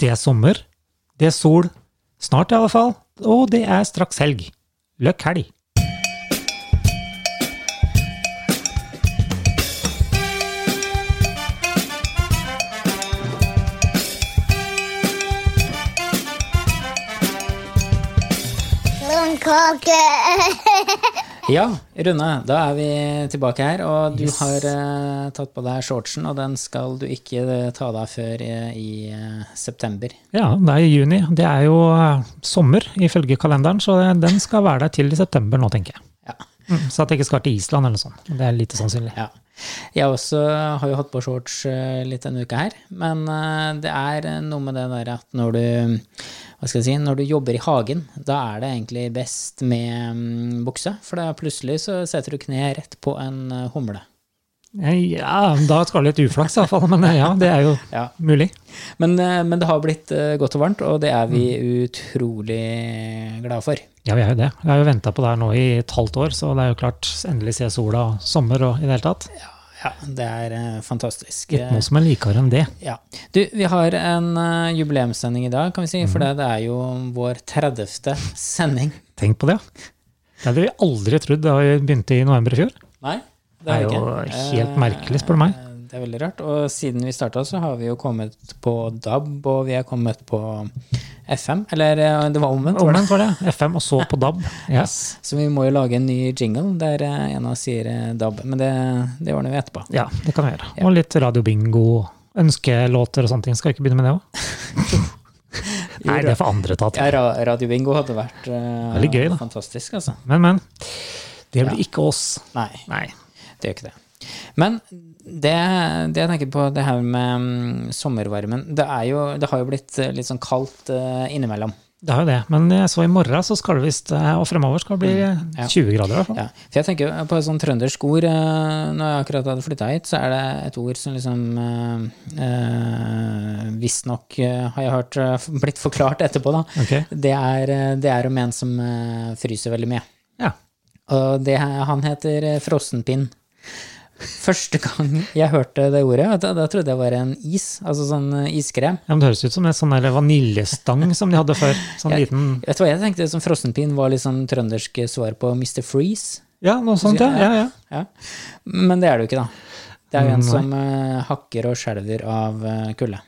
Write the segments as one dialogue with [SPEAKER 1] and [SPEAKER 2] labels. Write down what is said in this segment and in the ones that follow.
[SPEAKER 1] Det er sommer, det er sol, snart i alle fall, og det er straks helg. Løkk helg!
[SPEAKER 2] Blomkake!
[SPEAKER 3] Ja, Rune, da er vi tilbake her, og du har eh, tatt på deg shortsen, og den skal du ikke eh, ta av deg før eh, i eh, september.
[SPEAKER 1] Ja, det er i juni. Det er jo eh, sommer ifølge kalenderen, så den skal være der til i september nå, tenker jeg.
[SPEAKER 3] Ja.
[SPEAKER 1] Mm, Så at jeg ikke skal til Island eller noe sånt. Det er lite sannsynlig.
[SPEAKER 3] Ja. Jeg også har jo hatt på shorts eh, litt denne uka her, men eh, det er noe med det der at når du, hva skal jeg si, når du jobber i hagen, da er det egentlig best med mm, bukse, for da plutselig så setter du kneet rett på en eh, humle.
[SPEAKER 1] Eh, Ja, da skal det litt uflaks i hvert fall, men eh, ja, det er jo
[SPEAKER 3] Ja.
[SPEAKER 1] mulig.
[SPEAKER 3] Men, eh, men det har blitt eh, godt og varmt, og det er vi utrolig glade for.
[SPEAKER 1] Ja, vi er jo det. Jeg har jo venta på det her nå i et halvt år, så det er jo klart endelig se sola og sommer og i det hele tatt.
[SPEAKER 3] Ja, det er eh, fantastisk.
[SPEAKER 1] Ikke noe som er likere enn det.
[SPEAKER 3] Ja. Du, vi har en eh, jubileumssending i dag, kan vi si, for
[SPEAKER 1] Mhm.
[SPEAKER 3] det, det er jo vår 30. sending.
[SPEAKER 1] Tenk på det. Det hadde vi aldri trodd da vi begynte i november i fjor.
[SPEAKER 3] Nei, det
[SPEAKER 1] Det er
[SPEAKER 3] er det
[SPEAKER 1] jo
[SPEAKER 3] ikke.
[SPEAKER 1] helt merkelig, spør du meg.
[SPEAKER 3] Eh, Det er veldig rart. Og siden vi starta, så har vi jo kommet på DAB, og vi har kommet på FM. Eller eh, det var omvendt, var det?
[SPEAKER 1] Omvendt var det. FM og så på DAB. Oh, Ja.
[SPEAKER 3] Så vi må jo lage en ny jingle der eh, en av oss sier eh, DAB. Men det, det ordner vi etterpå.
[SPEAKER 1] ja, det kan vi gjøre. Og litt radiobingo, ønskelåter og sånne ting. Skal vi ikke begynne med det òg? Nei, det får andre ta
[SPEAKER 3] Ja,
[SPEAKER 1] til.
[SPEAKER 3] ra Radiobingo hadde vært eh,
[SPEAKER 1] Veldig gøy, da.
[SPEAKER 3] fantastisk, altså.
[SPEAKER 1] Men, men. Det blir ikke oss.
[SPEAKER 3] Nei.
[SPEAKER 1] Nei.
[SPEAKER 3] Det gjør ikke det. Men det, det jeg tenker på, det her med mm, sommervarmen Det, er jo, det har jo blitt eh, litt sånn kaldt eh, innimellom.
[SPEAKER 1] Det er jo det. Men jeg så i morgen, så skal det visst, eh, og fremover skal det bli
[SPEAKER 3] ja.
[SPEAKER 1] 20 grader i hvert fall.
[SPEAKER 3] Ja. For jeg tenker på et sånt trøndersk ord eh, Når jeg akkurat hadde flytta hit, så er det et ord som liksom eh, eh, Visstnok, eh, har jeg hørt, eh, blitt forklart etterpå, da.
[SPEAKER 1] Ok.
[SPEAKER 3] Det, er, eh, det er om en som eh, fryser veldig mye.
[SPEAKER 1] Ja.
[SPEAKER 3] Og det, han heter eh, frossenpinn. Første gang jeg hørte det ordet, da, da trodde jeg var en is, altså sånn eh, iskrem.
[SPEAKER 1] ja, men Det høres ut som en sånn der vaniljestang som de hadde før. Sånn liten
[SPEAKER 3] Vet du hva jeg tenkte som frossenpinn var litt sånn trøndersk svar på Mr. Freeze?
[SPEAKER 1] Ja, noe sånt, ja. ja, ja.
[SPEAKER 3] Ja. Men det er det jo ikke, da. Det er jo en som eh, hakker og skjelver av eh, kulde,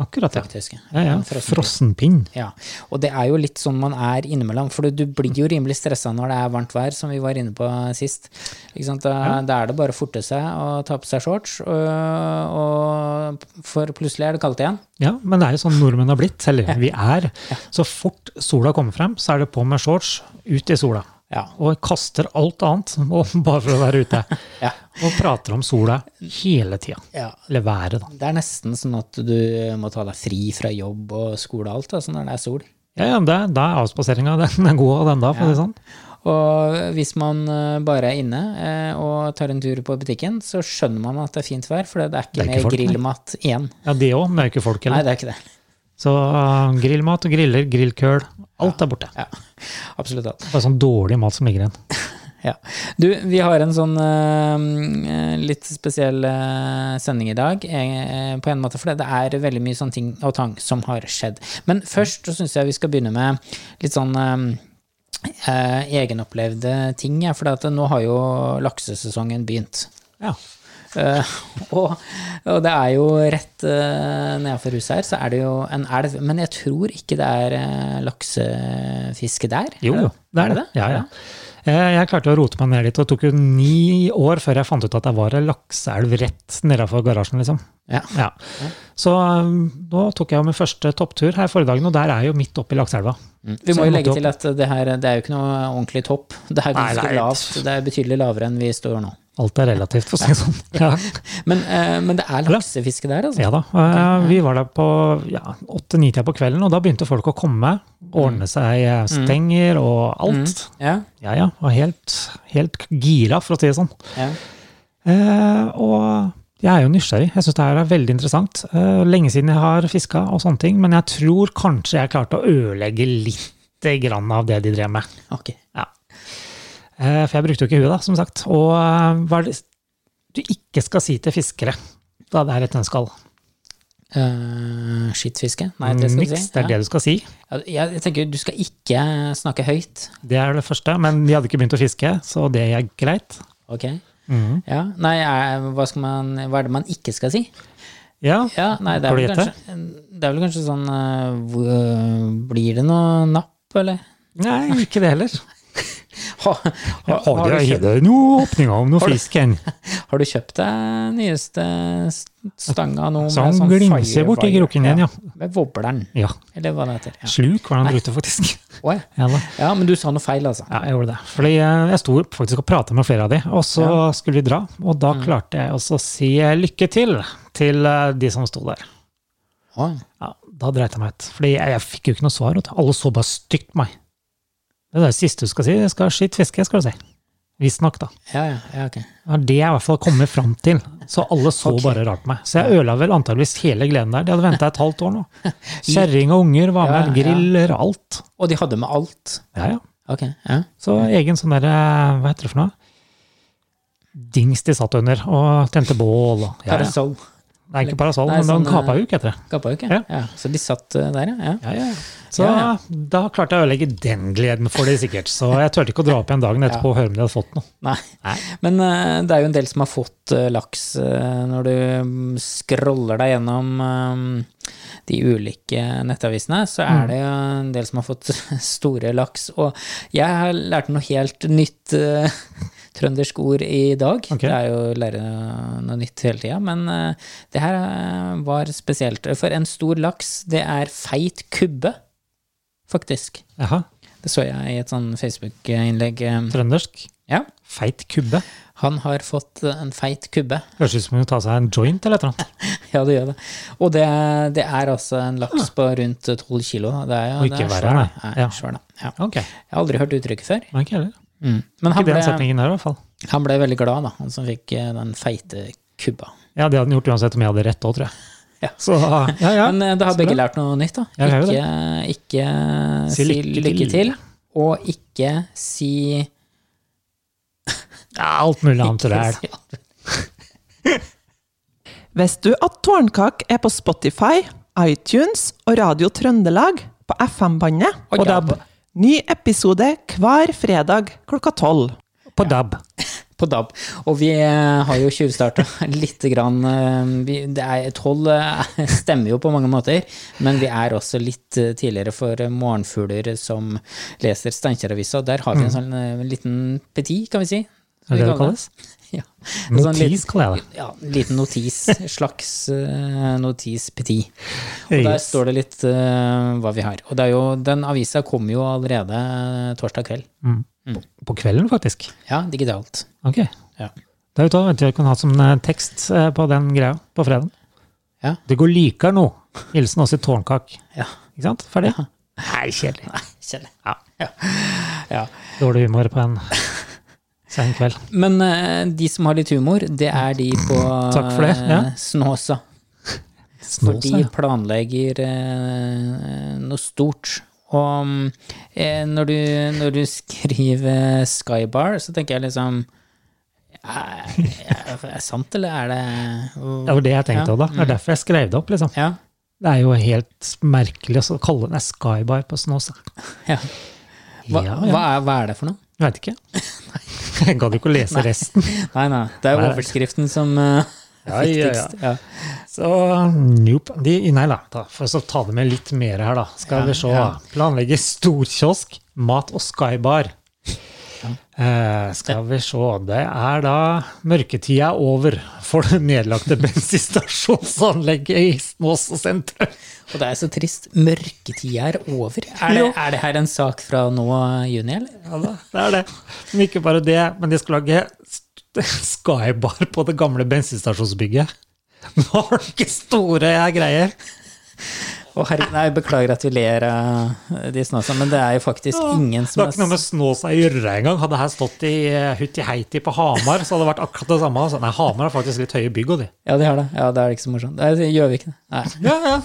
[SPEAKER 1] Akkurat, ja.
[SPEAKER 3] faktisk.
[SPEAKER 1] ja, ja.
[SPEAKER 3] En frossenpinn.
[SPEAKER 1] Frossenpinn.
[SPEAKER 3] Ja, og det er jo litt sånn man er innimellom, for du, du blir jo rimelig stressa når det er varmt vær, som vi var inne på sist. Ikke sant? Da, da er det bare å forte seg og ta på seg shorts, og, og for plutselig er det kaldt igjen.
[SPEAKER 1] Ja, men det er jo sånn nordmenn har blitt, eller vi er. Så fort sola kommer frem, så er det på med shorts, ut i sola.
[SPEAKER 3] Ja.
[SPEAKER 1] Og kaster alt annet, og bare for å være ute.
[SPEAKER 3] Ja.
[SPEAKER 1] Og prater om sola hele tida.
[SPEAKER 3] Ja.
[SPEAKER 1] Eller været, da.
[SPEAKER 3] Det er nesten sånn at du må ta deg fri fra jobb og skole og alt, altså når det er sol.
[SPEAKER 1] Ja, ja, men det, da er avspaseringa den er god, og den da, for å si det sånn.
[SPEAKER 3] Og hvis man eh, bare er inne eh, og tar en tur på butikken, så skjønner man at det er fint vær, for det er ikke,
[SPEAKER 1] Det er ikke
[SPEAKER 3] mer
[SPEAKER 1] folk, nei.
[SPEAKER 3] grillmat igjen.
[SPEAKER 1] Ja, det òg, men det er jo ikke folk
[SPEAKER 3] Nei,
[SPEAKER 1] heller.
[SPEAKER 3] det er ikke det.
[SPEAKER 1] Så uh, grillmat og griller, grillkøl, alt er borte.
[SPEAKER 3] Ja, absolutt alt.
[SPEAKER 1] Bare sånn dårlig mat som ligger igjen.
[SPEAKER 3] Ja. Du, vi har en sånn eh, litt spesiell eh, sending i dag, eh, på en måte, for det er veldig mye sånne ting og tang som har skjedd. Men først så syns jeg vi skal begynne med litt sånn eh, eh, egenopplevde ting, ja, for at nå har jo laksesesongen begynt.
[SPEAKER 1] Ja.
[SPEAKER 3] Eh, og, og det er jo rett uh, nedenfor huset her, så er det jo en elv. Men jeg tror ikke det er eh, laksefiske der.
[SPEAKER 1] Jo, jo, det er det. Ja, ja. Eh, Jeg klarte å rote meg ned litt, og det tok jo ni år før jeg fant ut at det var en lakseelv rett nedenfor garasjen, liksom.
[SPEAKER 3] Ja.
[SPEAKER 1] Ja. Så um, nå tok jeg jo min første topptur her forrige dagen, og der er jeg jo midt oppi lakseelva.
[SPEAKER 3] Vi
[SPEAKER 1] Så
[SPEAKER 3] må
[SPEAKER 1] jeg måtte
[SPEAKER 3] jo legge
[SPEAKER 1] opp.
[SPEAKER 3] til at det her det er jo ikke noe ordentlig topp. Det er ganske
[SPEAKER 1] Nei, det er-
[SPEAKER 3] lavt. Det er betydelig lavere enn vi står nå.
[SPEAKER 1] Alt er relativt, for å si det sånn. Ja,
[SPEAKER 3] Men, eh, men det er laksefiske der, altså.
[SPEAKER 1] ja da. Eh, Vi var der på ja, åtte-ni-tida på kvelden, og da begynte folk å komme. Ordne seg eh, stenger og alt.
[SPEAKER 3] Ja,
[SPEAKER 1] Ja ja, og helt, helt gira, for å si det sånn.
[SPEAKER 3] ja.
[SPEAKER 1] Eh, og jeg er jo nysgjerrig. Jeg syns det her er veldig interessant. Eh, lenge siden jeg har fiska og sånne ting, men jeg tror kanskje jeg klarte å ødelegge lite grann av det de drev med.
[SPEAKER 3] Ok.
[SPEAKER 1] Ja. Eh, for jeg brukte jo ikke huet, da, som sagt. Og eh, hva er det du ikke skal si til fiskere? Da det er et nønnskall.
[SPEAKER 3] eh, skittfiske? Nei, det skal du
[SPEAKER 1] Niks,
[SPEAKER 3] si.
[SPEAKER 1] det er
[SPEAKER 3] Ja.
[SPEAKER 1] det du skal si.
[SPEAKER 3] Ja, Jeg, jeg tenker du skal ikke snakke høyt.
[SPEAKER 1] Det er det første. Men de hadde ikke begynt å fiske, så det er greit.
[SPEAKER 3] Ok?
[SPEAKER 1] Mhm.
[SPEAKER 3] Ja. Nei, er, hva, skal man, hva er det man ikke skal si?
[SPEAKER 1] Ja,
[SPEAKER 3] Ja, nei, det er
[SPEAKER 1] Kan du
[SPEAKER 3] vel
[SPEAKER 1] gjette?
[SPEAKER 3] kanskje, det er vel kanskje sånn eh, hvor- øh, Blir det noe napp, eller?
[SPEAKER 1] Nei, ikke det heller.
[SPEAKER 3] Ha, ha, har, du kjøpt,
[SPEAKER 1] det noen åpninger om noe fisk enn?
[SPEAKER 3] har du kjøpt deg nyeste stanga nå? med sånn
[SPEAKER 1] Så han glimser
[SPEAKER 3] fire
[SPEAKER 1] borti
[SPEAKER 3] wire?
[SPEAKER 1] kroken igjen, ja.
[SPEAKER 3] Med wobbleren,
[SPEAKER 1] ja.
[SPEAKER 3] eller hva det heter. Ja.
[SPEAKER 1] Sluk var han ute, faktisk.
[SPEAKER 3] Å, ja.
[SPEAKER 1] Ja, da.
[SPEAKER 3] ja, men du sa noe feil, altså.
[SPEAKER 1] ja, jeg gjorde det. Fordi eh, jeg sto faktisk og prata med flere av de, og så skulle vi dra. Og da
[SPEAKER 3] Mm.
[SPEAKER 1] klarte jeg også å si eh, lykke til til eh, de som sto der.
[SPEAKER 3] Å,
[SPEAKER 1] Ja, da dreit jeg meg ut. Fordi jeg, jeg fikk jo ikke noe svar. vet du. Alle så bare stygt på meg. Det er det siste du skal si. Jeg skal skitt fiske, skal du si. Visstnok, da.
[SPEAKER 3] ja, ja, ja, ok.
[SPEAKER 1] Det er det jeg i hvert fall kommer fram til. Så alle så bare rart på meg. Så jeg ødela vel antageligvis hele gleden der. De hadde venta et halvt år nå. Kjerring og unger var
[SPEAKER 3] Ja,
[SPEAKER 1] med,
[SPEAKER 3] ja.
[SPEAKER 1] griller, alt.
[SPEAKER 3] Og de hadde med alt.
[SPEAKER 1] Ja, ja.
[SPEAKER 3] Ok, ja.
[SPEAKER 1] Så egen sånn derre Hva heter det for noe? Dings de satt under og tente bål og ja, ja.
[SPEAKER 3] Parasoll.
[SPEAKER 1] Det er ikke parasoll,
[SPEAKER 3] Nei,
[SPEAKER 1] men det var en
[SPEAKER 3] sånn, eh,
[SPEAKER 1] kapahuk, heter det.
[SPEAKER 3] Gappa jo ikke.
[SPEAKER 1] Ja.
[SPEAKER 3] Ja, så de satt eh, der, ja. ja.
[SPEAKER 1] Ja, ja, ja. Så
[SPEAKER 3] Ja,
[SPEAKER 1] da klarte jeg å ødelegge den gleden for de sikkert. Så jeg turte ikke å dra opp igjen dagen etterpå og høre om de hadde fått noe.
[SPEAKER 3] Nei.
[SPEAKER 1] Nei.
[SPEAKER 3] Men eh, det er jo en del som har fått eh, laks eh, når du mm, scroller deg gjennom eh, de ulike nettavisene, så
[SPEAKER 1] Mm.
[SPEAKER 3] er det jo en del som har fått store laks. Og jeg har lært noe helt nytt eh, trøndersk ord i dag.
[SPEAKER 1] Ok.
[SPEAKER 3] Det er jo å lære noe nytt hele tida, men eh, det her eh, var spesielt. For en stor laks, det er feit kubbe, faktisk.
[SPEAKER 1] Jaha,
[SPEAKER 3] Det så jeg i et sånn Facebook-innlegg. eh,
[SPEAKER 1] Trøndersk.
[SPEAKER 3] Ja.
[SPEAKER 1] Feit kubbe.
[SPEAKER 3] Han har fått en feit kubbe.
[SPEAKER 1] Høres ut som hun tar seg en joint eller et eller annet.
[SPEAKER 3] Ja, det gjør det. Og det, det er altså en laks på rundt 12 kilo. da. Det er, jo-
[SPEAKER 1] Og
[SPEAKER 3] det
[SPEAKER 1] ikke
[SPEAKER 3] er
[SPEAKER 1] verre,
[SPEAKER 3] svær, da.
[SPEAKER 1] nei.
[SPEAKER 3] Nei,
[SPEAKER 1] Ja.
[SPEAKER 3] svær, da. Ja.
[SPEAKER 1] Ok,
[SPEAKER 3] Jeg har aldri hørt uttrykket før.
[SPEAKER 1] Nei, ikke heller.
[SPEAKER 3] Men han
[SPEAKER 1] Ikke den
[SPEAKER 3] ble,
[SPEAKER 1] setningen der, i hvert fall.
[SPEAKER 3] han ble veldig glad, da, han som fikk eh, den feite kubba.
[SPEAKER 1] Ja, det hadde den gjort uansett om jeg hadde rett òg, tror jeg.
[SPEAKER 3] Ja.
[SPEAKER 1] Så ja, ja.
[SPEAKER 3] Men eh, da har begge lært noe nytt, da.
[SPEAKER 1] Ja, det er jo
[SPEAKER 3] Ikke, ikke si lykke, til, og ikke si
[SPEAKER 1] ja alt mulig annet til det her.
[SPEAKER 4] Visste du at Tårnkak er på Spotify, iTunes og Radio Trøndelag på FM-bandet?
[SPEAKER 1] På DAB.
[SPEAKER 4] Ny episode hver fredag klokka tolv.
[SPEAKER 1] På DAB.
[SPEAKER 3] på DAB. Og vi eh, har jo tjuvstarta lite grann. eh, vi- det er- Tolv eh, stemmer jo på mange måter, men vi er også litt eh, tidligere for eh, morgenfugler som leser Steinkjer-avisa. og Der har vi en sånn eh, liten petit, kan vi si.
[SPEAKER 1] Mm. Er
[SPEAKER 3] som vi
[SPEAKER 1] det det
[SPEAKER 3] kaller
[SPEAKER 1] kalles?
[SPEAKER 3] Ja. En sånn
[SPEAKER 1] Notis, kaller jeg det.
[SPEAKER 3] liten- Ja, en liten notis. Slags eh, notis petit. Og der
[SPEAKER 1] Yes.
[SPEAKER 3] står det litt eh, hva vi har. Og det er jo, den avisa kommer jo allerede eh, torsdag kveld.
[SPEAKER 1] På kvelden, faktisk.
[SPEAKER 3] Ja, digitalt.
[SPEAKER 1] Ok.
[SPEAKER 3] Ja.
[SPEAKER 1] Det er jo da vet du, jeg kan ha som eh, tekst eh, på den greia på fredagen.
[SPEAKER 3] Ja.
[SPEAKER 1] Det går likere nå. Hilsen oss i Tårnkak.
[SPEAKER 3] ja.
[SPEAKER 1] Ikke sant? Ferdig? Nei, kjedelig.
[SPEAKER 3] Kjenner.
[SPEAKER 1] Ja.
[SPEAKER 3] Ja.
[SPEAKER 1] Dårlig humor på en sen kveld.
[SPEAKER 3] Men eh, de som har litt humor, det er de på
[SPEAKER 1] Mm. Takk for det,
[SPEAKER 3] eh,
[SPEAKER 1] ja.
[SPEAKER 3] Snåsa. For
[SPEAKER 1] Snåsa.
[SPEAKER 3] de planlegger eh, noe stort. Og mm, eh, når, du, når du skriver Skybar, så tenker jeg liksom Er er det sant, eller er
[SPEAKER 1] Det
[SPEAKER 3] det
[SPEAKER 1] var det jeg tenkte
[SPEAKER 3] Ja. Mm.
[SPEAKER 1] òg, da. Det er derfor jeg skrev det opp, liksom.
[SPEAKER 3] Ja.
[SPEAKER 1] Det er jo helt merkelig å kalle det en skybar på Snåsa.
[SPEAKER 3] ja. Hva,
[SPEAKER 1] ja, ja.
[SPEAKER 3] hva, er, hva er det for noe?
[SPEAKER 1] Jeg vet ikke. Jeg gadd ikke å lese resten.
[SPEAKER 3] Nei, nei. Det er jo
[SPEAKER 1] Nei.
[SPEAKER 3] overskriften som eh,
[SPEAKER 1] Ja, ja,
[SPEAKER 3] er
[SPEAKER 1] ja.
[SPEAKER 3] viktigst. Ja.
[SPEAKER 1] Så nope. De, nei da, ta, for så ta det med litt mer her, da. Skal
[SPEAKER 3] Ja,
[SPEAKER 1] vi se.
[SPEAKER 3] ja.
[SPEAKER 1] Planlegge storkiosk, mat og skybar. Eh, skal vi se. Det er da mørketida er over for det nedlagte bensinstasjonsanlegget i Snåsa sentrum.
[SPEAKER 3] Og det er så trist. Mørketida er over. Er det, er det her en sak fra nå juni, eller?
[SPEAKER 1] Ja da, det er det. Men ikke bare det, men de skal lage st- skybar på det gamle bensinstasjonsbygget. Nå har de ikke store greier.
[SPEAKER 3] Å, herregud, nei, jeg beklager at vi ler av de snåsa, men det er jo faktisk ingen
[SPEAKER 1] Det
[SPEAKER 3] som
[SPEAKER 1] har ikke noe med Snåsa å gjøre engang. Hadde her stått i eh, Hutti Heiti på Hamar, så hadde det vært akkurat det samme. altså. Nei, Hamar har faktisk litt høye bygg, og de.
[SPEAKER 3] Ja, de har det. Ja, det er ikke så morsomt. Nei, det gjør vi ikke det. Nei.
[SPEAKER 1] Ja, ja.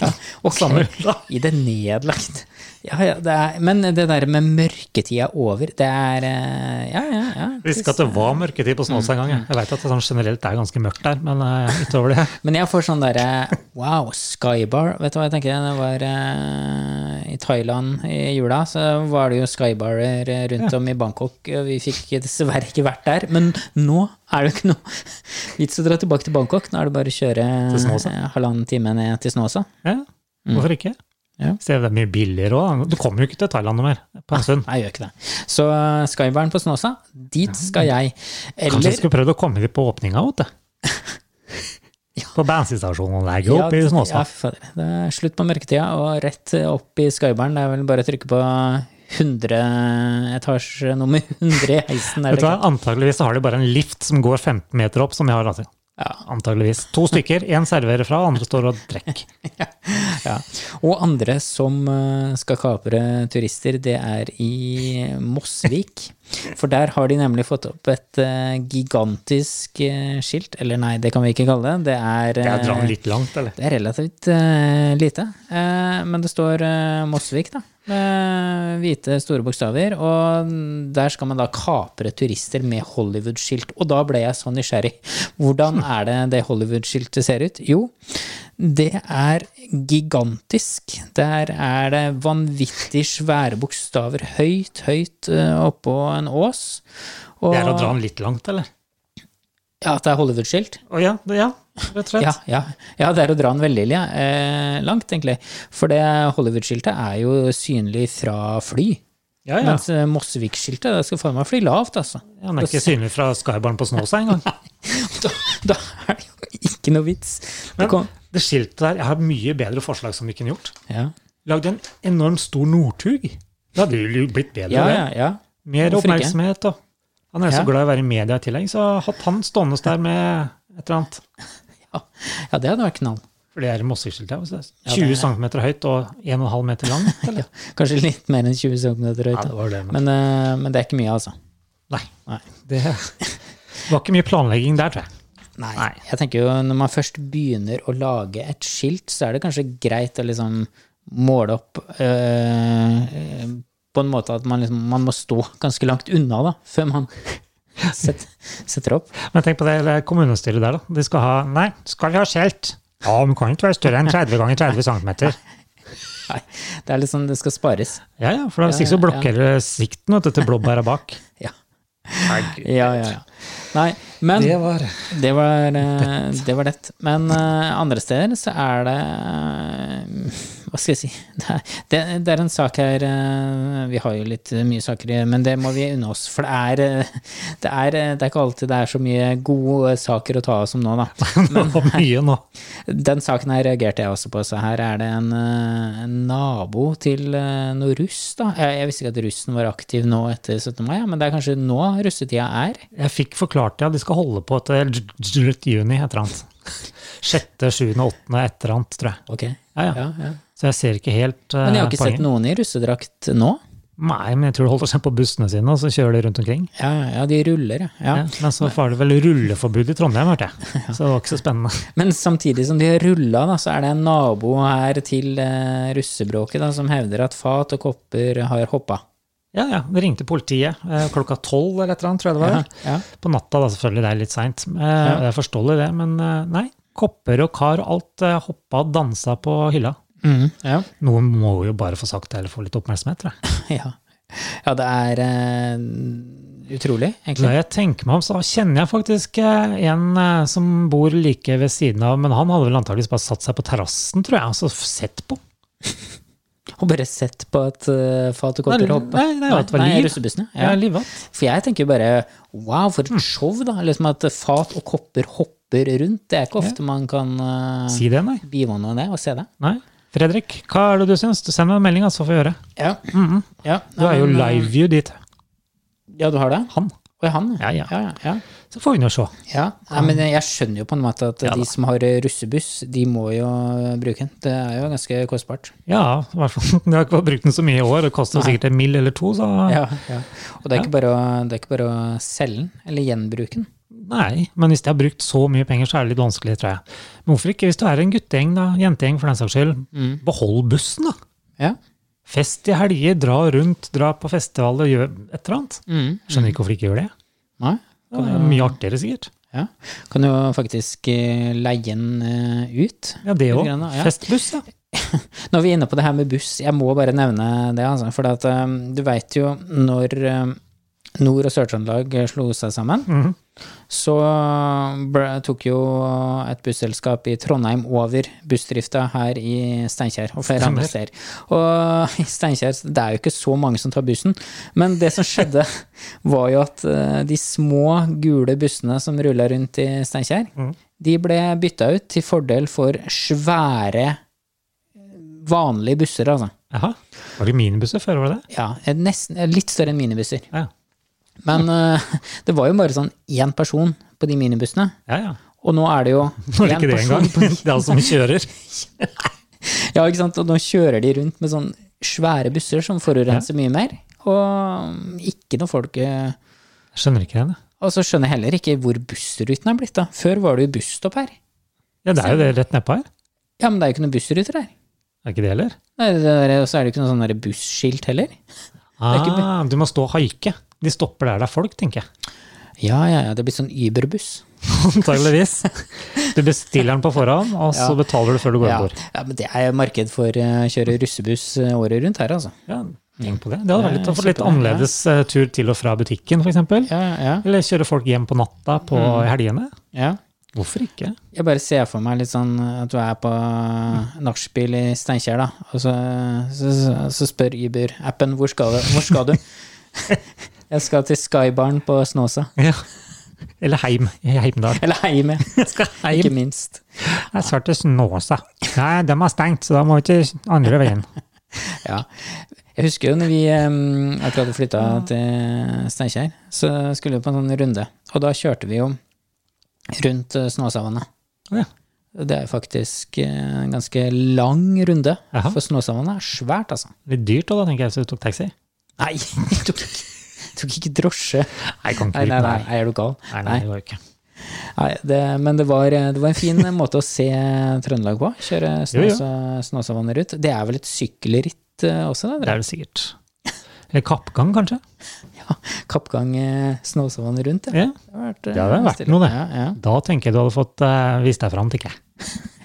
[SPEAKER 3] Ja, ok.
[SPEAKER 1] Samme da.
[SPEAKER 3] I det nedlagt Ja, ja, det er, men det der med mørketida over, det er eh, Ja, ja, ja.
[SPEAKER 1] Jeg visste ikke at det var mørketid på Snåsa engang. jeg. Jeg vet at det sånn generelt er ganske mørkt der, men eh, utover det
[SPEAKER 3] Men jeg får sånn derre Wow, skybar. Vet du hva jeg tenker? Det var eh, i Thailand i jula, så var det jo skybarer eh, rundt om i Bangkok. og Vi fikk dessverre ikke vært der. Men nå er det jo ikke noe vits å dra tilbake til Bangkok. Nå er det bare å kjøre
[SPEAKER 1] Til Snåsa.
[SPEAKER 3] eh, halvannen time ned til Snåsa.
[SPEAKER 1] ja, Hvorfor ikke?
[SPEAKER 3] Mm. Ja.
[SPEAKER 1] Se, det er mye billigere òg. Du kommer jo ikke til Thailand noe mer på en stund.
[SPEAKER 3] Nei, jeg gjør ikke det. Så eh, skybaren på Snåsa, dit skal jeg.
[SPEAKER 1] Kanskje
[SPEAKER 3] Eller
[SPEAKER 1] vi skulle prøvd å komme dit på åpninga, vet du. På bensinstasjonen der, gå opp i
[SPEAKER 3] Ja,
[SPEAKER 1] Snåsa.
[SPEAKER 3] ja, fy fader. Det er slutt på mørketida og rett opp i skybaren. Det er vel bare å trykke på 100 etasje nummer 100 i heisen. Er
[SPEAKER 1] Vet
[SPEAKER 3] det
[SPEAKER 1] du hva,
[SPEAKER 3] ikke?
[SPEAKER 1] Antakeligvis har de bare en lift som går 15 meter opp, som vi har. Altså.
[SPEAKER 3] Ja.
[SPEAKER 1] Antakeligvis. To stykker, én serverer fra, andre står og trekker.
[SPEAKER 3] Ja. Og andre som eh, skal kapre turister, det er i Mosvik. For der har de nemlig fått opp et eh, gigantisk eh, skilt. Eller nei, det kan vi ikke kalle det. Det er,
[SPEAKER 1] Jeg drar
[SPEAKER 3] eh,
[SPEAKER 1] den litt langt, eller?
[SPEAKER 3] Det er relativt eh, lite, eh, men det står eh, Mosvik, da. Med hvite, store bokstaver. Og der skal man da kapre turister med Hollywood-skilt. Og da ble jeg så nysgjerrig.
[SPEAKER 1] Hmm.
[SPEAKER 3] Hvordan er det det Hollywood-skiltet ser ut? Jo, det er gigantisk. Der er det vanvittig svære bokstaver høyt, høyt eh, oppå en ås. Og,
[SPEAKER 1] Det er å dra den litt langt, eller?
[SPEAKER 3] Ja, at det er Hollywood-skilt.
[SPEAKER 1] Å ja, det, ja, rett og slett.
[SPEAKER 3] Ja, ja. ja, det er å dra den veldig ja. eh, langt, egentlig. For det Hollywood-skiltet er jo synlig fra fly.
[SPEAKER 1] Ja, ja.
[SPEAKER 3] Mens eh, Mosvik-skiltet det skal faen meg fly lavt, altså.
[SPEAKER 1] Ja, Han er ikke synlig fra Skybaren på Snåsa engang.
[SPEAKER 3] Da, da er det jo ikke noe vits. Det kom,
[SPEAKER 1] Men det skiltet der, jeg har mye bedre forslag som vi kunne gjort.
[SPEAKER 3] ja.
[SPEAKER 1] Lagd en enormt stor Northug. Det hadde jo blitt bedre.
[SPEAKER 3] ja, ja,
[SPEAKER 1] det.
[SPEAKER 3] ja.
[SPEAKER 1] Mer
[SPEAKER 3] Hvorfor ikke?
[SPEAKER 1] oppmerksomhet. Og. Han er jo
[SPEAKER 3] Ja.
[SPEAKER 1] så glad i å være i media i tillegg, så hatt han stående der med et eller annet.
[SPEAKER 3] Ja, ja det hadde vært knall.
[SPEAKER 1] For det er Mosseskiltet. altså.
[SPEAKER 3] Ja, det er-
[SPEAKER 1] 20 cm høyt og 1,5 meter langt.
[SPEAKER 3] Ja, kanskje litt mer enn 20 cm høyt.
[SPEAKER 1] Ja, det
[SPEAKER 3] da.
[SPEAKER 1] var det, men.
[SPEAKER 3] Men, eh, men det er ikke mye, altså.
[SPEAKER 1] Nei.
[SPEAKER 3] Nei.
[SPEAKER 1] Det var ikke mye planlegging der, tror jeg.
[SPEAKER 3] Nei. Jeg tenker jo når man først begynner å lage et skilt, så er det kanskje greit å liksom måle opp øh, øh, på en måte at man, liksom, man må stå ganske langt unna da, før man setter, setter opp.
[SPEAKER 1] Men tenk på det det kommunestyret der, da. De skal ha Nei, skal vi ha skilt? Ja, men kan ikke være større enn 30 ganger 30 cm.
[SPEAKER 3] Nei, det er litt sånn det skal spares.
[SPEAKER 1] Ja, ja, for da
[SPEAKER 3] Ja,
[SPEAKER 1] sikkert så
[SPEAKER 3] ja, ja.
[SPEAKER 1] blokkerer det sikten vet du, til blåbæra bak.
[SPEAKER 3] Ja. Ja, ja, ja. Nei, men det var Det var, eh, det, var det. Men eh, andre steder så er det eh, Hva skal jeg si Det er, det, det er en sak her eh, Vi har jo litt eh, mye saker, i- men det må vi unne oss. For det er, eh, det er, eh, det er ikke alltid det er så mye gode saker å ta av som nå, da.
[SPEAKER 1] Det var mye nå.
[SPEAKER 3] Den saken her reagerte jeg også på, så her er det en, eh, en nabo til eh, noe russ, da. Jeg, jeg visste ikke at russen var aktiv nå etter 17. mai, ja, men det er kanskje nå russetida er.
[SPEAKER 1] Jeg fikk forklart ja, de skal holde på eh, til j- j- j- juni, et eller annet. 6., 7., 8., et eller annet, tror jeg.
[SPEAKER 3] Ok.
[SPEAKER 1] Ja, ja.
[SPEAKER 3] Ja, ja.
[SPEAKER 1] Så jeg ser ikke helt uh,
[SPEAKER 3] Men jeg har ikke sett noen i russedrakt nå.
[SPEAKER 1] Nei, men jeg tror de holder seg på bussene sine, og så kjører de rundt omkring.
[SPEAKER 3] Ja, ja, de ruller, ja.
[SPEAKER 1] Ja.
[SPEAKER 3] ja.
[SPEAKER 1] Men så var det vel rulleforbud i Trondheim, hørte jeg. Så det var ikke så spennende.
[SPEAKER 3] Men samtidig som de har rulla, da, så er det en nabo her til eh, russebråket da, som hevder at fat og kopper har hoppa.
[SPEAKER 1] Ja, ja. Det ringte politiet eh, klokka tolv eller et eller annet, tror jeg det var.
[SPEAKER 3] Ja, ja.
[SPEAKER 1] På natta, da, selvfølgelig. Det er litt seint. Jeg forstår det, men eh, nei. Kopper og kar, alt eh, hoppa og dansa på hylla.
[SPEAKER 3] Mhm, ja.
[SPEAKER 1] Noen må jo bare få sagt det, eller få litt oppmerksomhet, tror jeg.
[SPEAKER 3] ja. Ja, det er eh, utrolig, egentlig.
[SPEAKER 1] Når jeg tenker meg om, så kjenner jeg faktisk eh, en eh, som bor like ved siden av, men han hadde vel antakeligvis bare satt seg på terrassen, tror jeg, og så f- sett på.
[SPEAKER 3] Og bare sett på at eh, fat og kopper
[SPEAKER 1] Nei,
[SPEAKER 3] hoppa.
[SPEAKER 1] nei, nei, at det var
[SPEAKER 3] nei,
[SPEAKER 1] liv. Mm.
[SPEAKER 3] russebussene.
[SPEAKER 1] Ja.
[SPEAKER 3] Ja.
[SPEAKER 1] Jeg er Eh, livet.
[SPEAKER 3] For jeg tenker jo bare wow, for et show, da. Liksom at fat og kopper hopper rundt. Det er ikke ofte man kan eh,
[SPEAKER 1] Si det, nei.
[SPEAKER 3] bivåne det og se det.
[SPEAKER 1] nei. Fredrik, hva er det du syns? Send meg en melding, altså, så får vi høre.
[SPEAKER 3] Ja. ja.
[SPEAKER 1] Mm-hmm. Du er jo
[SPEAKER 3] men, eh,
[SPEAKER 1] liveview dit.
[SPEAKER 3] Ja, du har det?
[SPEAKER 1] Han.
[SPEAKER 3] Oi, han,
[SPEAKER 1] Ja, ja.
[SPEAKER 3] ja, ja.
[SPEAKER 1] Så får vi nå se.
[SPEAKER 3] ja. Nei, men jeg skjønner jo på en måte at
[SPEAKER 1] Ja da.
[SPEAKER 3] de som har russebuss, de må jo bruke den. Det er jo ganske kostbart.
[SPEAKER 1] Ja, i hvert fall. Du har ikke brukt den så mye i år. Det koster
[SPEAKER 3] Nei.
[SPEAKER 1] sikkert en mill eller to, så
[SPEAKER 3] Ja, ja. Og det er, ikke bare å, det er ikke bare å selge den, eller gjenbruke den.
[SPEAKER 1] Nei, men hvis de har brukt så mye penger, så er det litt vanskelig, tror jeg.
[SPEAKER 3] Mm.
[SPEAKER 1] Men hvorfor ikke, hvis du er en guttegjeng, da, jentegjeng for den saks skyld, behold bussen, da.
[SPEAKER 3] Ja.
[SPEAKER 1] Fest i helger, dra rundt, dra på festival og gjør et eller annet.
[SPEAKER 3] Mm.
[SPEAKER 1] Skjønner ikke hvorfor de ikke gjør det.
[SPEAKER 3] Nei?
[SPEAKER 1] Det er mye artigere, sikkert.
[SPEAKER 3] Ja. Kan jo faktisk eh, leie den eh, ut.
[SPEAKER 1] Ja, det
[SPEAKER 3] Litt
[SPEAKER 1] òg.
[SPEAKER 3] grann, ja.
[SPEAKER 1] Festbuss, ja.
[SPEAKER 3] Når vi er inne på det her med buss, jeg må bare nevne det, altså. For at, eh, du veit jo når eh, Nord- og Sør-Trøndelag slo seg sammen,
[SPEAKER 1] Mhm.
[SPEAKER 3] så ble, tok jo et busselskap i Trondheim over bussdrifta her i Steinkjer og flere andre steder. Og i Steinkjer det er jo ikke så mange som tar bussen, men det som skjedde, var jo at eh, de små, gule bussene som rulla rundt i Steinkjer, de ble bytta ut til fordel for svære, vanlige busser, altså.
[SPEAKER 1] Jaha. Var det minibusser før, var det det?
[SPEAKER 3] Ja, eh, nesten, litt større enn minibusser.
[SPEAKER 1] Ja,
[SPEAKER 3] Men eh, det var jo bare sånn én person på de minibussene.
[SPEAKER 1] ja. ja.
[SPEAKER 3] Og nå er det jo
[SPEAKER 1] Var det
[SPEAKER 3] én
[SPEAKER 1] ikke det
[SPEAKER 3] person
[SPEAKER 1] engang?
[SPEAKER 3] på-
[SPEAKER 1] Det er han som kjører.
[SPEAKER 3] Ja, ikke sant? Og nå kjører de rundt med sånn svære busser som forurenser mye mer. Og mm, ikke noe folk eh,
[SPEAKER 1] Jeg skjønner ikke henne.
[SPEAKER 3] Og så skjønner jeg heller ikke hvor bussruten er blitt, da. Før var det jo busstopp her.
[SPEAKER 1] Ja, det er jo det rett nedpå her.
[SPEAKER 3] Ja, men det er jo ikke noen bussruter her.
[SPEAKER 1] Er ikke det heller?
[SPEAKER 3] Nei, det der- Og så er det jo ikke noe sånn der busskilt heller. er ikke
[SPEAKER 1] Ah, du må stå og haike. De stopper der det er folk, tenker jeg.
[SPEAKER 3] Ja, ja, ja, det blir sånn Uber-buss.
[SPEAKER 1] Antageligvis. Du bestiller den på forhånd, og så
[SPEAKER 3] Ja.
[SPEAKER 1] betaler du før du går
[SPEAKER 3] Ja.
[SPEAKER 1] om bord.
[SPEAKER 3] ja, men det er jo marked for å kjøre russebuss eh, året rundt her, altså.
[SPEAKER 1] Ja, tenk på det. Det hadde vært litt å få litt
[SPEAKER 3] Kjempebra, ja.
[SPEAKER 1] annerledes eh, tur til og fra butikken, f.eks.
[SPEAKER 3] Ja, ja,
[SPEAKER 1] Eller kjøre folk hjem på natta på helgene.
[SPEAKER 3] ja.
[SPEAKER 1] Mm. Hvorfor ikke?
[SPEAKER 3] Jeg bare ser for meg litt sånn at du er på nachspiel i Steinkjer, da, og så, så, så spør Uber-appen hvor skal du? Hvor skal du? Jeg skal til Skybaren på Snåsa.
[SPEAKER 1] Ja. Eller heim i Heimdal.
[SPEAKER 3] Eller heim, ja. Ikke minst.
[SPEAKER 1] Jeg skal til Snåsa. Nei, de har stengt, så da må vi til andre veien.
[SPEAKER 3] Ja. Jeg husker jo når vi em, akkurat flytta
[SPEAKER 1] Ah.
[SPEAKER 3] til Steinkjer, så skulle vi på en sånn runde. Og da kjørte vi jo rundt eh, Snåsavannet.
[SPEAKER 1] Ja.
[SPEAKER 3] Det er faktisk eh, en ganske lang runde,
[SPEAKER 1] Jaha.
[SPEAKER 3] for Snåsavannet er svært, altså.
[SPEAKER 1] Litt dyrt da, da, tenker jeg, hvis du tok taxi.
[SPEAKER 3] Nei, jeg tok, jeg tok ikke drosje.
[SPEAKER 1] Nei, kan ikke
[SPEAKER 3] Nei, nei,
[SPEAKER 1] dit,
[SPEAKER 3] nei, er du gal?
[SPEAKER 1] Nei, nei,
[SPEAKER 3] Nei,
[SPEAKER 1] det går ikke.
[SPEAKER 3] nei det, men det var, eh, det var en fin måte å se Trøndelag på. Kjøre
[SPEAKER 1] Jo, jo.
[SPEAKER 3] Snåsa- Snåsavannet rundt. Det er vel et sykkelritt eh, også,
[SPEAKER 1] Det
[SPEAKER 3] da?
[SPEAKER 1] er det sikkert. Eller kappgang, kanskje?
[SPEAKER 3] Kappgang eh, Snåsavannet rundt, ja.
[SPEAKER 1] Ja.
[SPEAKER 3] Det har vært, eh,
[SPEAKER 1] Det hadde vært
[SPEAKER 3] stilig.
[SPEAKER 1] noe, det.
[SPEAKER 3] Ja, ja,
[SPEAKER 1] Da tenker jeg du hadde fått eh, vist deg fram, tenker jeg.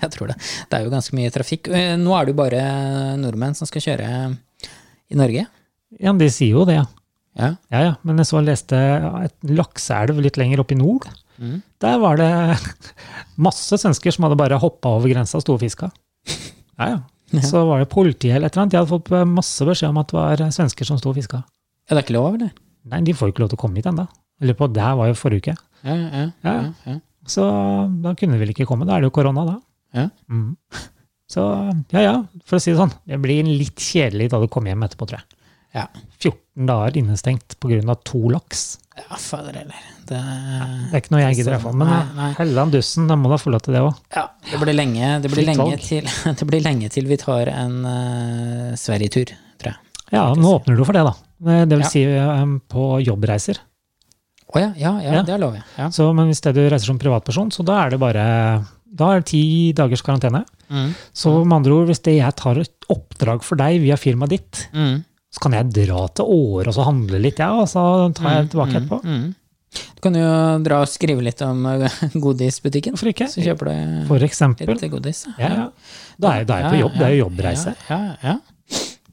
[SPEAKER 3] jeg tror det. Det er jo ganske mye trafikk. Eh, Nå er det jo bare nordmenn som skal kjøre i Norge.
[SPEAKER 1] Ja, men de sier jo det, ja.
[SPEAKER 3] Ja.
[SPEAKER 1] Ja, ja. Men jeg så leste et lakseelv litt lenger opp i nord.
[SPEAKER 3] Mm.
[SPEAKER 1] Der var det masse svensker som hadde bare hoppa over grensa og sto og fiska. Ja, ja. Så var det politiet eller et eller annet. De hadde fått eh, masse beskjed om at det var svensker som sto og fiska.
[SPEAKER 3] Ja, det er ikke lov, eller?
[SPEAKER 1] Nei, de får jo ikke lov til å komme hit ennå. Eller på, det her var jo forrige uke.
[SPEAKER 3] Ja, ja, ja.
[SPEAKER 1] Ja.
[SPEAKER 3] ja,
[SPEAKER 1] Så da kunne de vel ikke komme. Da er det jo korona, da.
[SPEAKER 3] ja.
[SPEAKER 1] Mm. Så ja, ja, for å si det sånn. Det blir litt kjedelig da du kommer hjem etterpå, tror jeg.
[SPEAKER 3] ja.
[SPEAKER 1] 14 dager innestengt pga. to laks.
[SPEAKER 3] ja fader heller. Det
[SPEAKER 1] Det er ikke noe jeg gidder i hvert fall. Men
[SPEAKER 3] Nei, nei.
[SPEAKER 1] Helland Dussen, da må da få lov til det òg.
[SPEAKER 3] Ja, det blir lenge, det blir
[SPEAKER 1] Fritt
[SPEAKER 3] lenge,
[SPEAKER 1] valg.
[SPEAKER 3] til, det blir lenge til vi tar en uh, Sverige-tur, tror jeg.
[SPEAKER 1] Ja, nå åpner du for det, da. Eh, Det vil
[SPEAKER 3] Ja.
[SPEAKER 1] si eh, på jobbreiser.
[SPEAKER 3] Å ja, ja, ja,
[SPEAKER 1] Ja.
[SPEAKER 3] det er lov, ja. ja.
[SPEAKER 1] Så, men hvis det du reiser som privatperson, så da er det bare da er det ti dagers karantene.
[SPEAKER 3] Mm,
[SPEAKER 1] Så med andre ord, hvis det jeg tar et oppdrag for deg via firmaet ditt,
[SPEAKER 3] mm,
[SPEAKER 1] så kan jeg dra til Åre og så handle litt, jeg, og så tar jeg det tilbake etterpå.
[SPEAKER 3] mm. Du kan jo dra og skrive litt om eh, godisbutikken,
[SPEAKER 1] Hvorfor ikke?
[SPEAKER 3] så kjøper du
[SPEAKER 1] For eksempel.
[SPEAKER 3] litt godis. da.
[SPEAKER 1] Ja, ja. Da er, da er jeg på
[SPEAKER 3] Ja,
[SPEAKER 1] jobb, det er jo
[SPEAKER 3] ja,
[SPEAKER 1] jobbreise.
[SPEAKER 3] Ja, ja,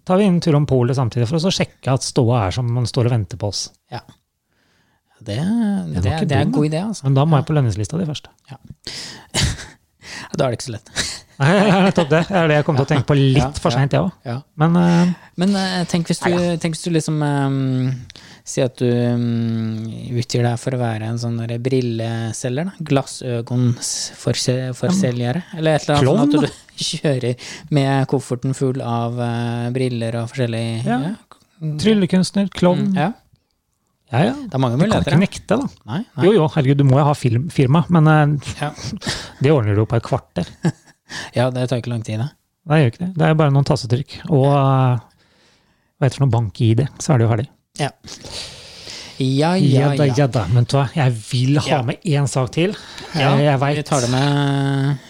[SPEAKER 1] Tar vi en tur om polet samtidig for å sjekke at ståa er som man står og venter på oss.
[SPEAKER 3] ja. ja. Det,
[SPEAKER 1] var
[SPEAKER 3] det, det,
[SPEAKER 1] ikke
[SPEAKER 3] er en
[SPEAKER 1] dum,
[SPEAKER 3] god idé, altså.
[SPEAKER 1] Men da må jeg på lønningslista di først.
[SPEAKER 3] Da er det ikke så lett.
[SPEAKER 1] Nei, jeg er nettopp det. Det er det jeg kom til å tenke på litt for seint, jeg òg.
[SPEAKER 3] Ja.
[SPEAKER 1] Men eh,
[SPEAKER 3] Men eh, tenk hvis du, tenk hvis du liksom um, Si at du um, utgir deg for å være en sånn der brilleselger, da. Glassøgonforselgere, eller et eller annet.
[SPEAKER 1] Klovn,
[SPEAKER 3] sånn at du kjører med kofferten full av eh, briller og forskjellig
[SPEAKER 1] Ja. tryllekunstner, klovn
[SPEAKER 3] Mm. ja.
[SPEAKER 1] Ja, ja.
[SPEAKER 3] Det er mange
[SPEAKER 1] Du kan
[SPEAKER 3] muligheter.
[SPEAKER 1] ikke
[SPEAKER 3] da.
[SPEAKER 1] nekte, da.
[SPEAKER 3] Nei, nei.
[SPEAKER 1] Jo, jo, herregud, du må jo ha film, firma, men eh,
[SPEAKER 3] Ja.
[SPEAKER 1] det ordner du jo på et kvarter.
[SPEAKER 3] ja, det tar ikke lang tid, det.
[SPEAKER 1] Nei, gjør ikke det. Det er bare noen tassetrykk. Og eh, hva heter det for noe bank-ID, så er det jo ferdig.
[SPEAKER 3] Ja. Ja, ja,
[SPEAKER 1] Ja da,
[SPEAKER 3] ja.
[SPEAKER 1] ja da. Men vet du hva, jeg vil ha
[SPEAKER 3] Ja.
[SPEAKER 1] med én sak til. Eh,
[SPEAKER 3] ja
[SPEAKER 1] jeg jeg
[SPEAKER 3] Vi
[SPEAKER 1] veit
[SPEAKER 3] tar det med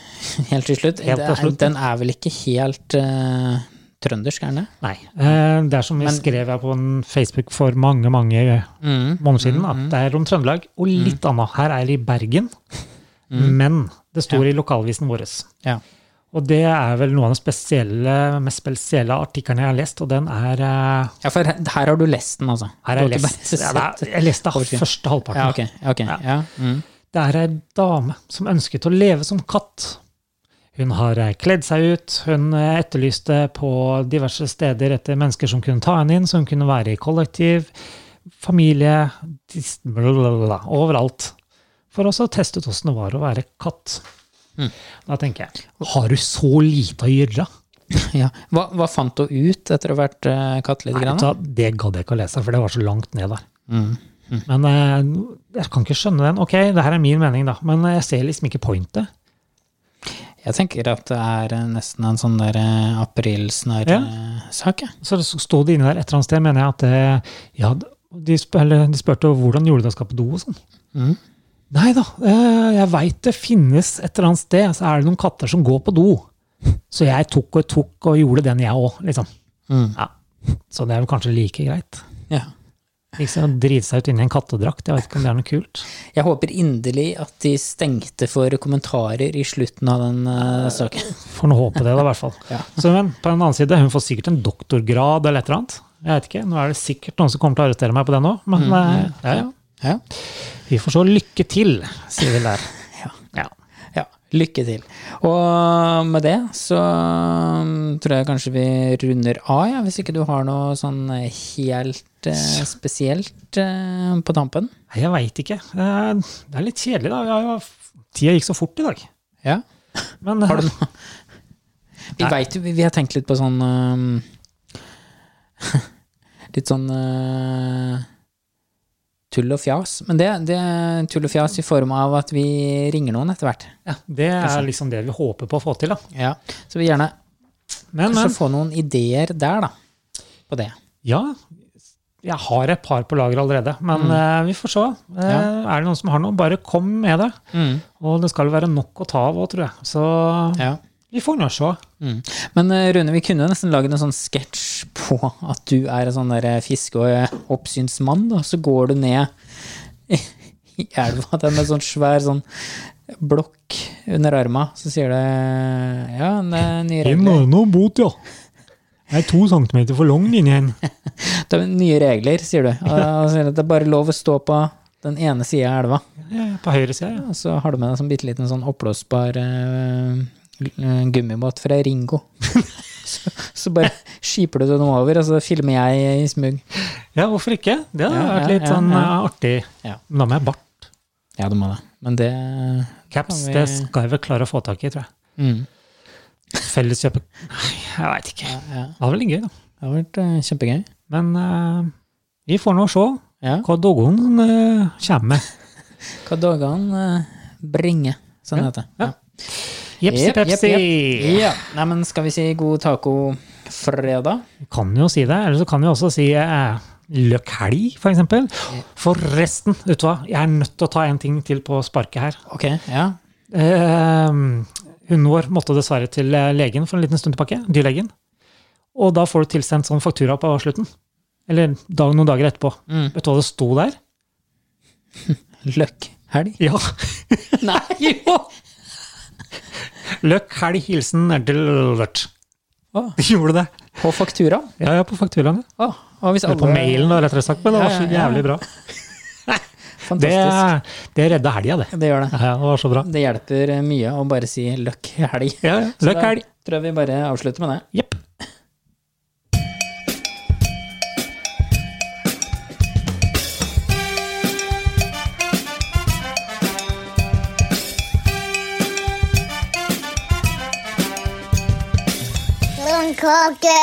[SPEAKER 3] helt til slutt.
[SPEAKER 1] Helt til
[SPEAKER 3] Det er-
[SPEAKER 1] slutt.
[SPEAKER 3] Den er vel ikke helt eh, Trøndersk, er den det?
[SPEAKER 1] Nei. Eh, Det er som jeg skrev jeg på en Facebook for mange mange måneder siden,
[SPEAKER 3] Mm,
[SPEAKER 1] at det er om Trøndelag og litt annet. Her er det i Bergen,
[SPEAKER 3] Mm.
[SPEAKER 1] men det står i lokalavisen vår.
[SPEAKER 3] Ja.
[SPEAKER 1] Og det er vel noen av de spesielle, mest spesielle artiklene jeg har lest, og den er eh,
[SPEAKER 3] ja, for her, her har du lest den, altså.
[SPEAKER 1] Her er
[SPEAKER 3] Du har ikke
[SPEAKER 1] lest,
[SPEAKER 3] bare
[SPEAKER 1] ja, det er, jeg leste
[SPEAKER 3] oversyn.
[SPEAKER 1] første halvparten.
[SPEAKER 3] Ja, ok. ok, ja. Mm.
[SPEAKER 1] Det er ei dame som ønsket å leve som katt. Hun har eh, kledd seg ut, hun eh, etterlyste på diverse steder etter mennesker som kunne ta henne inn, så hun kunne være i kollektiv, familie, dis- blablabla, overalt. For også å teste ut åssen det var å være katt. Da tenker jeg, har du så lite å gjøre?
[SPEAKER 3] ja. Hva, hva fant du ut etter å ha vært eh, katt litt?
[SPEAKER 1] Nei,
[SPEAKER 3] Grann,
[SPEAKER 1] vet du
[SPEAKER 3] da?
[SPEAKER 1] hva, det gadd jeg ikke å lese, for det var så langt ned der. Men eh, jeg kan ikke skjønne den. Ok, det her er min mening, da, men jeg ser liksom ikke pointet.
[SPEAKER 3] Jeg tenker at det er eh, nesten en sånn der eh, aprilsnarr-sak, jeg.
[SPEAKER 1] Så det sto det inne der et eller annet sted, mener jeg, at det, ja, de, spør, eller, de spurte jo hvordan gjorde du det å skal på do og sånn. Nei da, eh, jeg veit det finnes et eller annet sted, så er det noen katter som går på do. Så jeg tok og tok og gjorde den, jeg òg, liksom.
[SPEAKER 3] Mm.
[SPEAKER 1] Ja. Så det er vel kanskje like greit.
[SPEAKER 3] Ja.
[SPEAKER 1] Liksom å drite seg ut inni en kattedrakt, jeg vet ikke om det er noe kult.
[SPEAKER 3] Jeg håper inderlig at de stengte for kommentarer i slutten av den eh, saken.
[SPEAKER 1] Får nå håpe det, da, i hvert fall. Så, men på den annen side, hun får sikkert en doktorgrad eller et eller annet. Jeg vet ikke, Nå er det sikkert noen som kommer til å arrestere meg på det nå, men eh, ja, ja.
[SPEAKER 3] Ja.
[SPEAKER 1] vi får så lykke til, sier vi der. Ja.
[SPEAKER 3] Ja, lykke til. Og med det så um, tror jeg kanskje vi runder av, ja, hvis ikke du har noe sånn helt eh, spesielt eh, på tampen.
[SPEAKER 1] Nei, Jeg veit ikke. Eh, Det er litt kjedelig, da. Vi har jo- Tida gikk så fort i dag.
[SPEAKER 3] Ja.
[SPEAKER 1] Men eh,
[SPEAKER 3] Vi
[SPEAKER 1] Nei.
[SPEAKER 3] vet jo, vi, vi har tenkt litt på sånn um, Litt sånn eh, tull og fjas. Men det, det er tull og fjas i form av at vi ringer noen etter hvert.
[SPEAKER 1] det er liksom det vi håper på å få til, da.
[SPEAKER 3] Ja. Så vi gjerne
[SPEAKER 1] Men,
[SPEAKER 3] kanskje
[SPEAKER 1] men
[SPEAKER 3] få noen ideer der, da. På det.
[SPEAKER 1] ja. Jeg har et par på lager allerede, men eh, vi får se. Eh, Er det noen som har noe, bare kom med det. Og det skal være nok å ta av òg, tror jeg. Så
[SPEAKER 3] Ja.
[SPEAKER 1] vi får nå se.
[SPEAKER 3] Mm. Men eh, Rune, vi kunne jo nesten lage en sånn sketsj på at du er en sånn der eh, fiske- og eh, oppsynsmann, da. Så går du ned i i elva det er med sånn svær sånn blokk under arma, så sier du ja, det er nye regler.
[SPEAKER 1] bot, ja. Jeg er to centimeter for lang, din igjen.
[SPEAKER 3] Det er nye regler, sier du. Og og sier at det er bare lov å stå på den ene sida av elva.
[SPEAKER 1] På høyre side, ja.
[SPEAKER 3] Og så har du med deg en sånn bitte liten sånn oppblåsbar eh, l- eh, gummibåt fra Ringo. så, så bare skiper du den over, og så filmer jeg i smug.
[SPEAKER 1] Ja, hvorfor ikke? Det hadde
[SPEAKER 3] Ja,
[SPEAKER 1] vært
[SPEAKER 3] ja,
[SPEAKER 1] litt
[SPEAKER 3] ja,
[SPEAKER 1] sånn
[SPEAKER 3] ja.
[SPEAKER 1] eh, artig.
[SPEAKER 3] Ja.
[SPEAKER 1] Men da må jeg bart.
[SPEAKER 3] Ja, du må det. Men det
[SPEAKER 1] Caps,
[SPEAKER 3] Kan vi-
[SPEAKER 1] det skal jeg vel klare å få tak i, tror jeg.
[SPEAKER 3] mm,
[SPEAKER 1] Felleskjøpe Nei, jeg veit ikke.
[SPEAKER 3] ja, ja.
[SPEAKER 1] Det var veldig gøy, da.
[SPEAKER 3] Det har vært eh, kjempegøy.
[SPEAKER 1] Men eh, vi får nå se
[SPEAKER 3] Ja.
[SPEAKER 1] hva doggene eh, kommer med.
[SPEAKER 3] Hva dagene eh, bringer, sånn heter det. Ja.
[SPEAKER 1] Jepsi
[SPEAKER 3] Jepp, jepp,
[SPEAKER 1] pepsi!
[SPEAKER 3] jepp. Ja. Nei, men skal vi si god taco-fredag?
[SPEAKER 1] Vi kan jo si det. Eller så kan vi også si eh, løk helg, for eksempel. Forresten, vet du hva, jeg er nødt til å ta en ting til på sparket her.
[SPEAKER 3] Ok, ja.
[SPEAKER 1] Eh, hunden vår måtte dessverre til eh, legen for en liten stund tilbake. Dyrlegen. Og da får du tilsendt sånn faktura på slutten. Eller dag, noen dager etterpå.
[SPEAKER 3] Mm.
[SPEAKER 1] Vet du hva det sto der?
[SPEAKER 3] Løkk. Helg.
[SPEAKER 1] Ja.
[SPEAKER 3] Nei, jo!
[SPEAKER 1] Løkk, helg, hilsen Dillert.
[SPEAKER 3] Å.
[SPEAKER 1] De gjorde det.
[SPEAKER 3] På fakturaen.
[SPEAKER 1] Ja, ja, på fakturaen. ja.
[SPEAKER 3] Å, og hvis
[SPEAKER 1] Eller på
[SPEAKER 3] alle-
[SPEAKER 1] mailen, da, rettere sagt. Men det var så
[SPEAKER 3] Ja, ja, ja.
[SPEAKER 1] jævlig bra. Det,
[SPEAKER 3] Fantastisk.
[SPEAKER 1] det redda helga, det.
[SPEAKER 3] Det, gjør det.
[SPEAKER 1] Ja, ja, det var så bra.
[SPEAKER 3] Det hjelper eh, mye å bare si løkk helg.
[SPEAKER 1] Ja, ja.
[SPEAKER 3] Så
[SPEAKER 1] Løkk,
[SPEAKER 3] da
[SPEAKER 1] helg.
[SPEAKER 3] tror jeg vi bare avslutter med det.
[SPEAKER 1] Jepp.
[SPEAKER 2] Blomkake.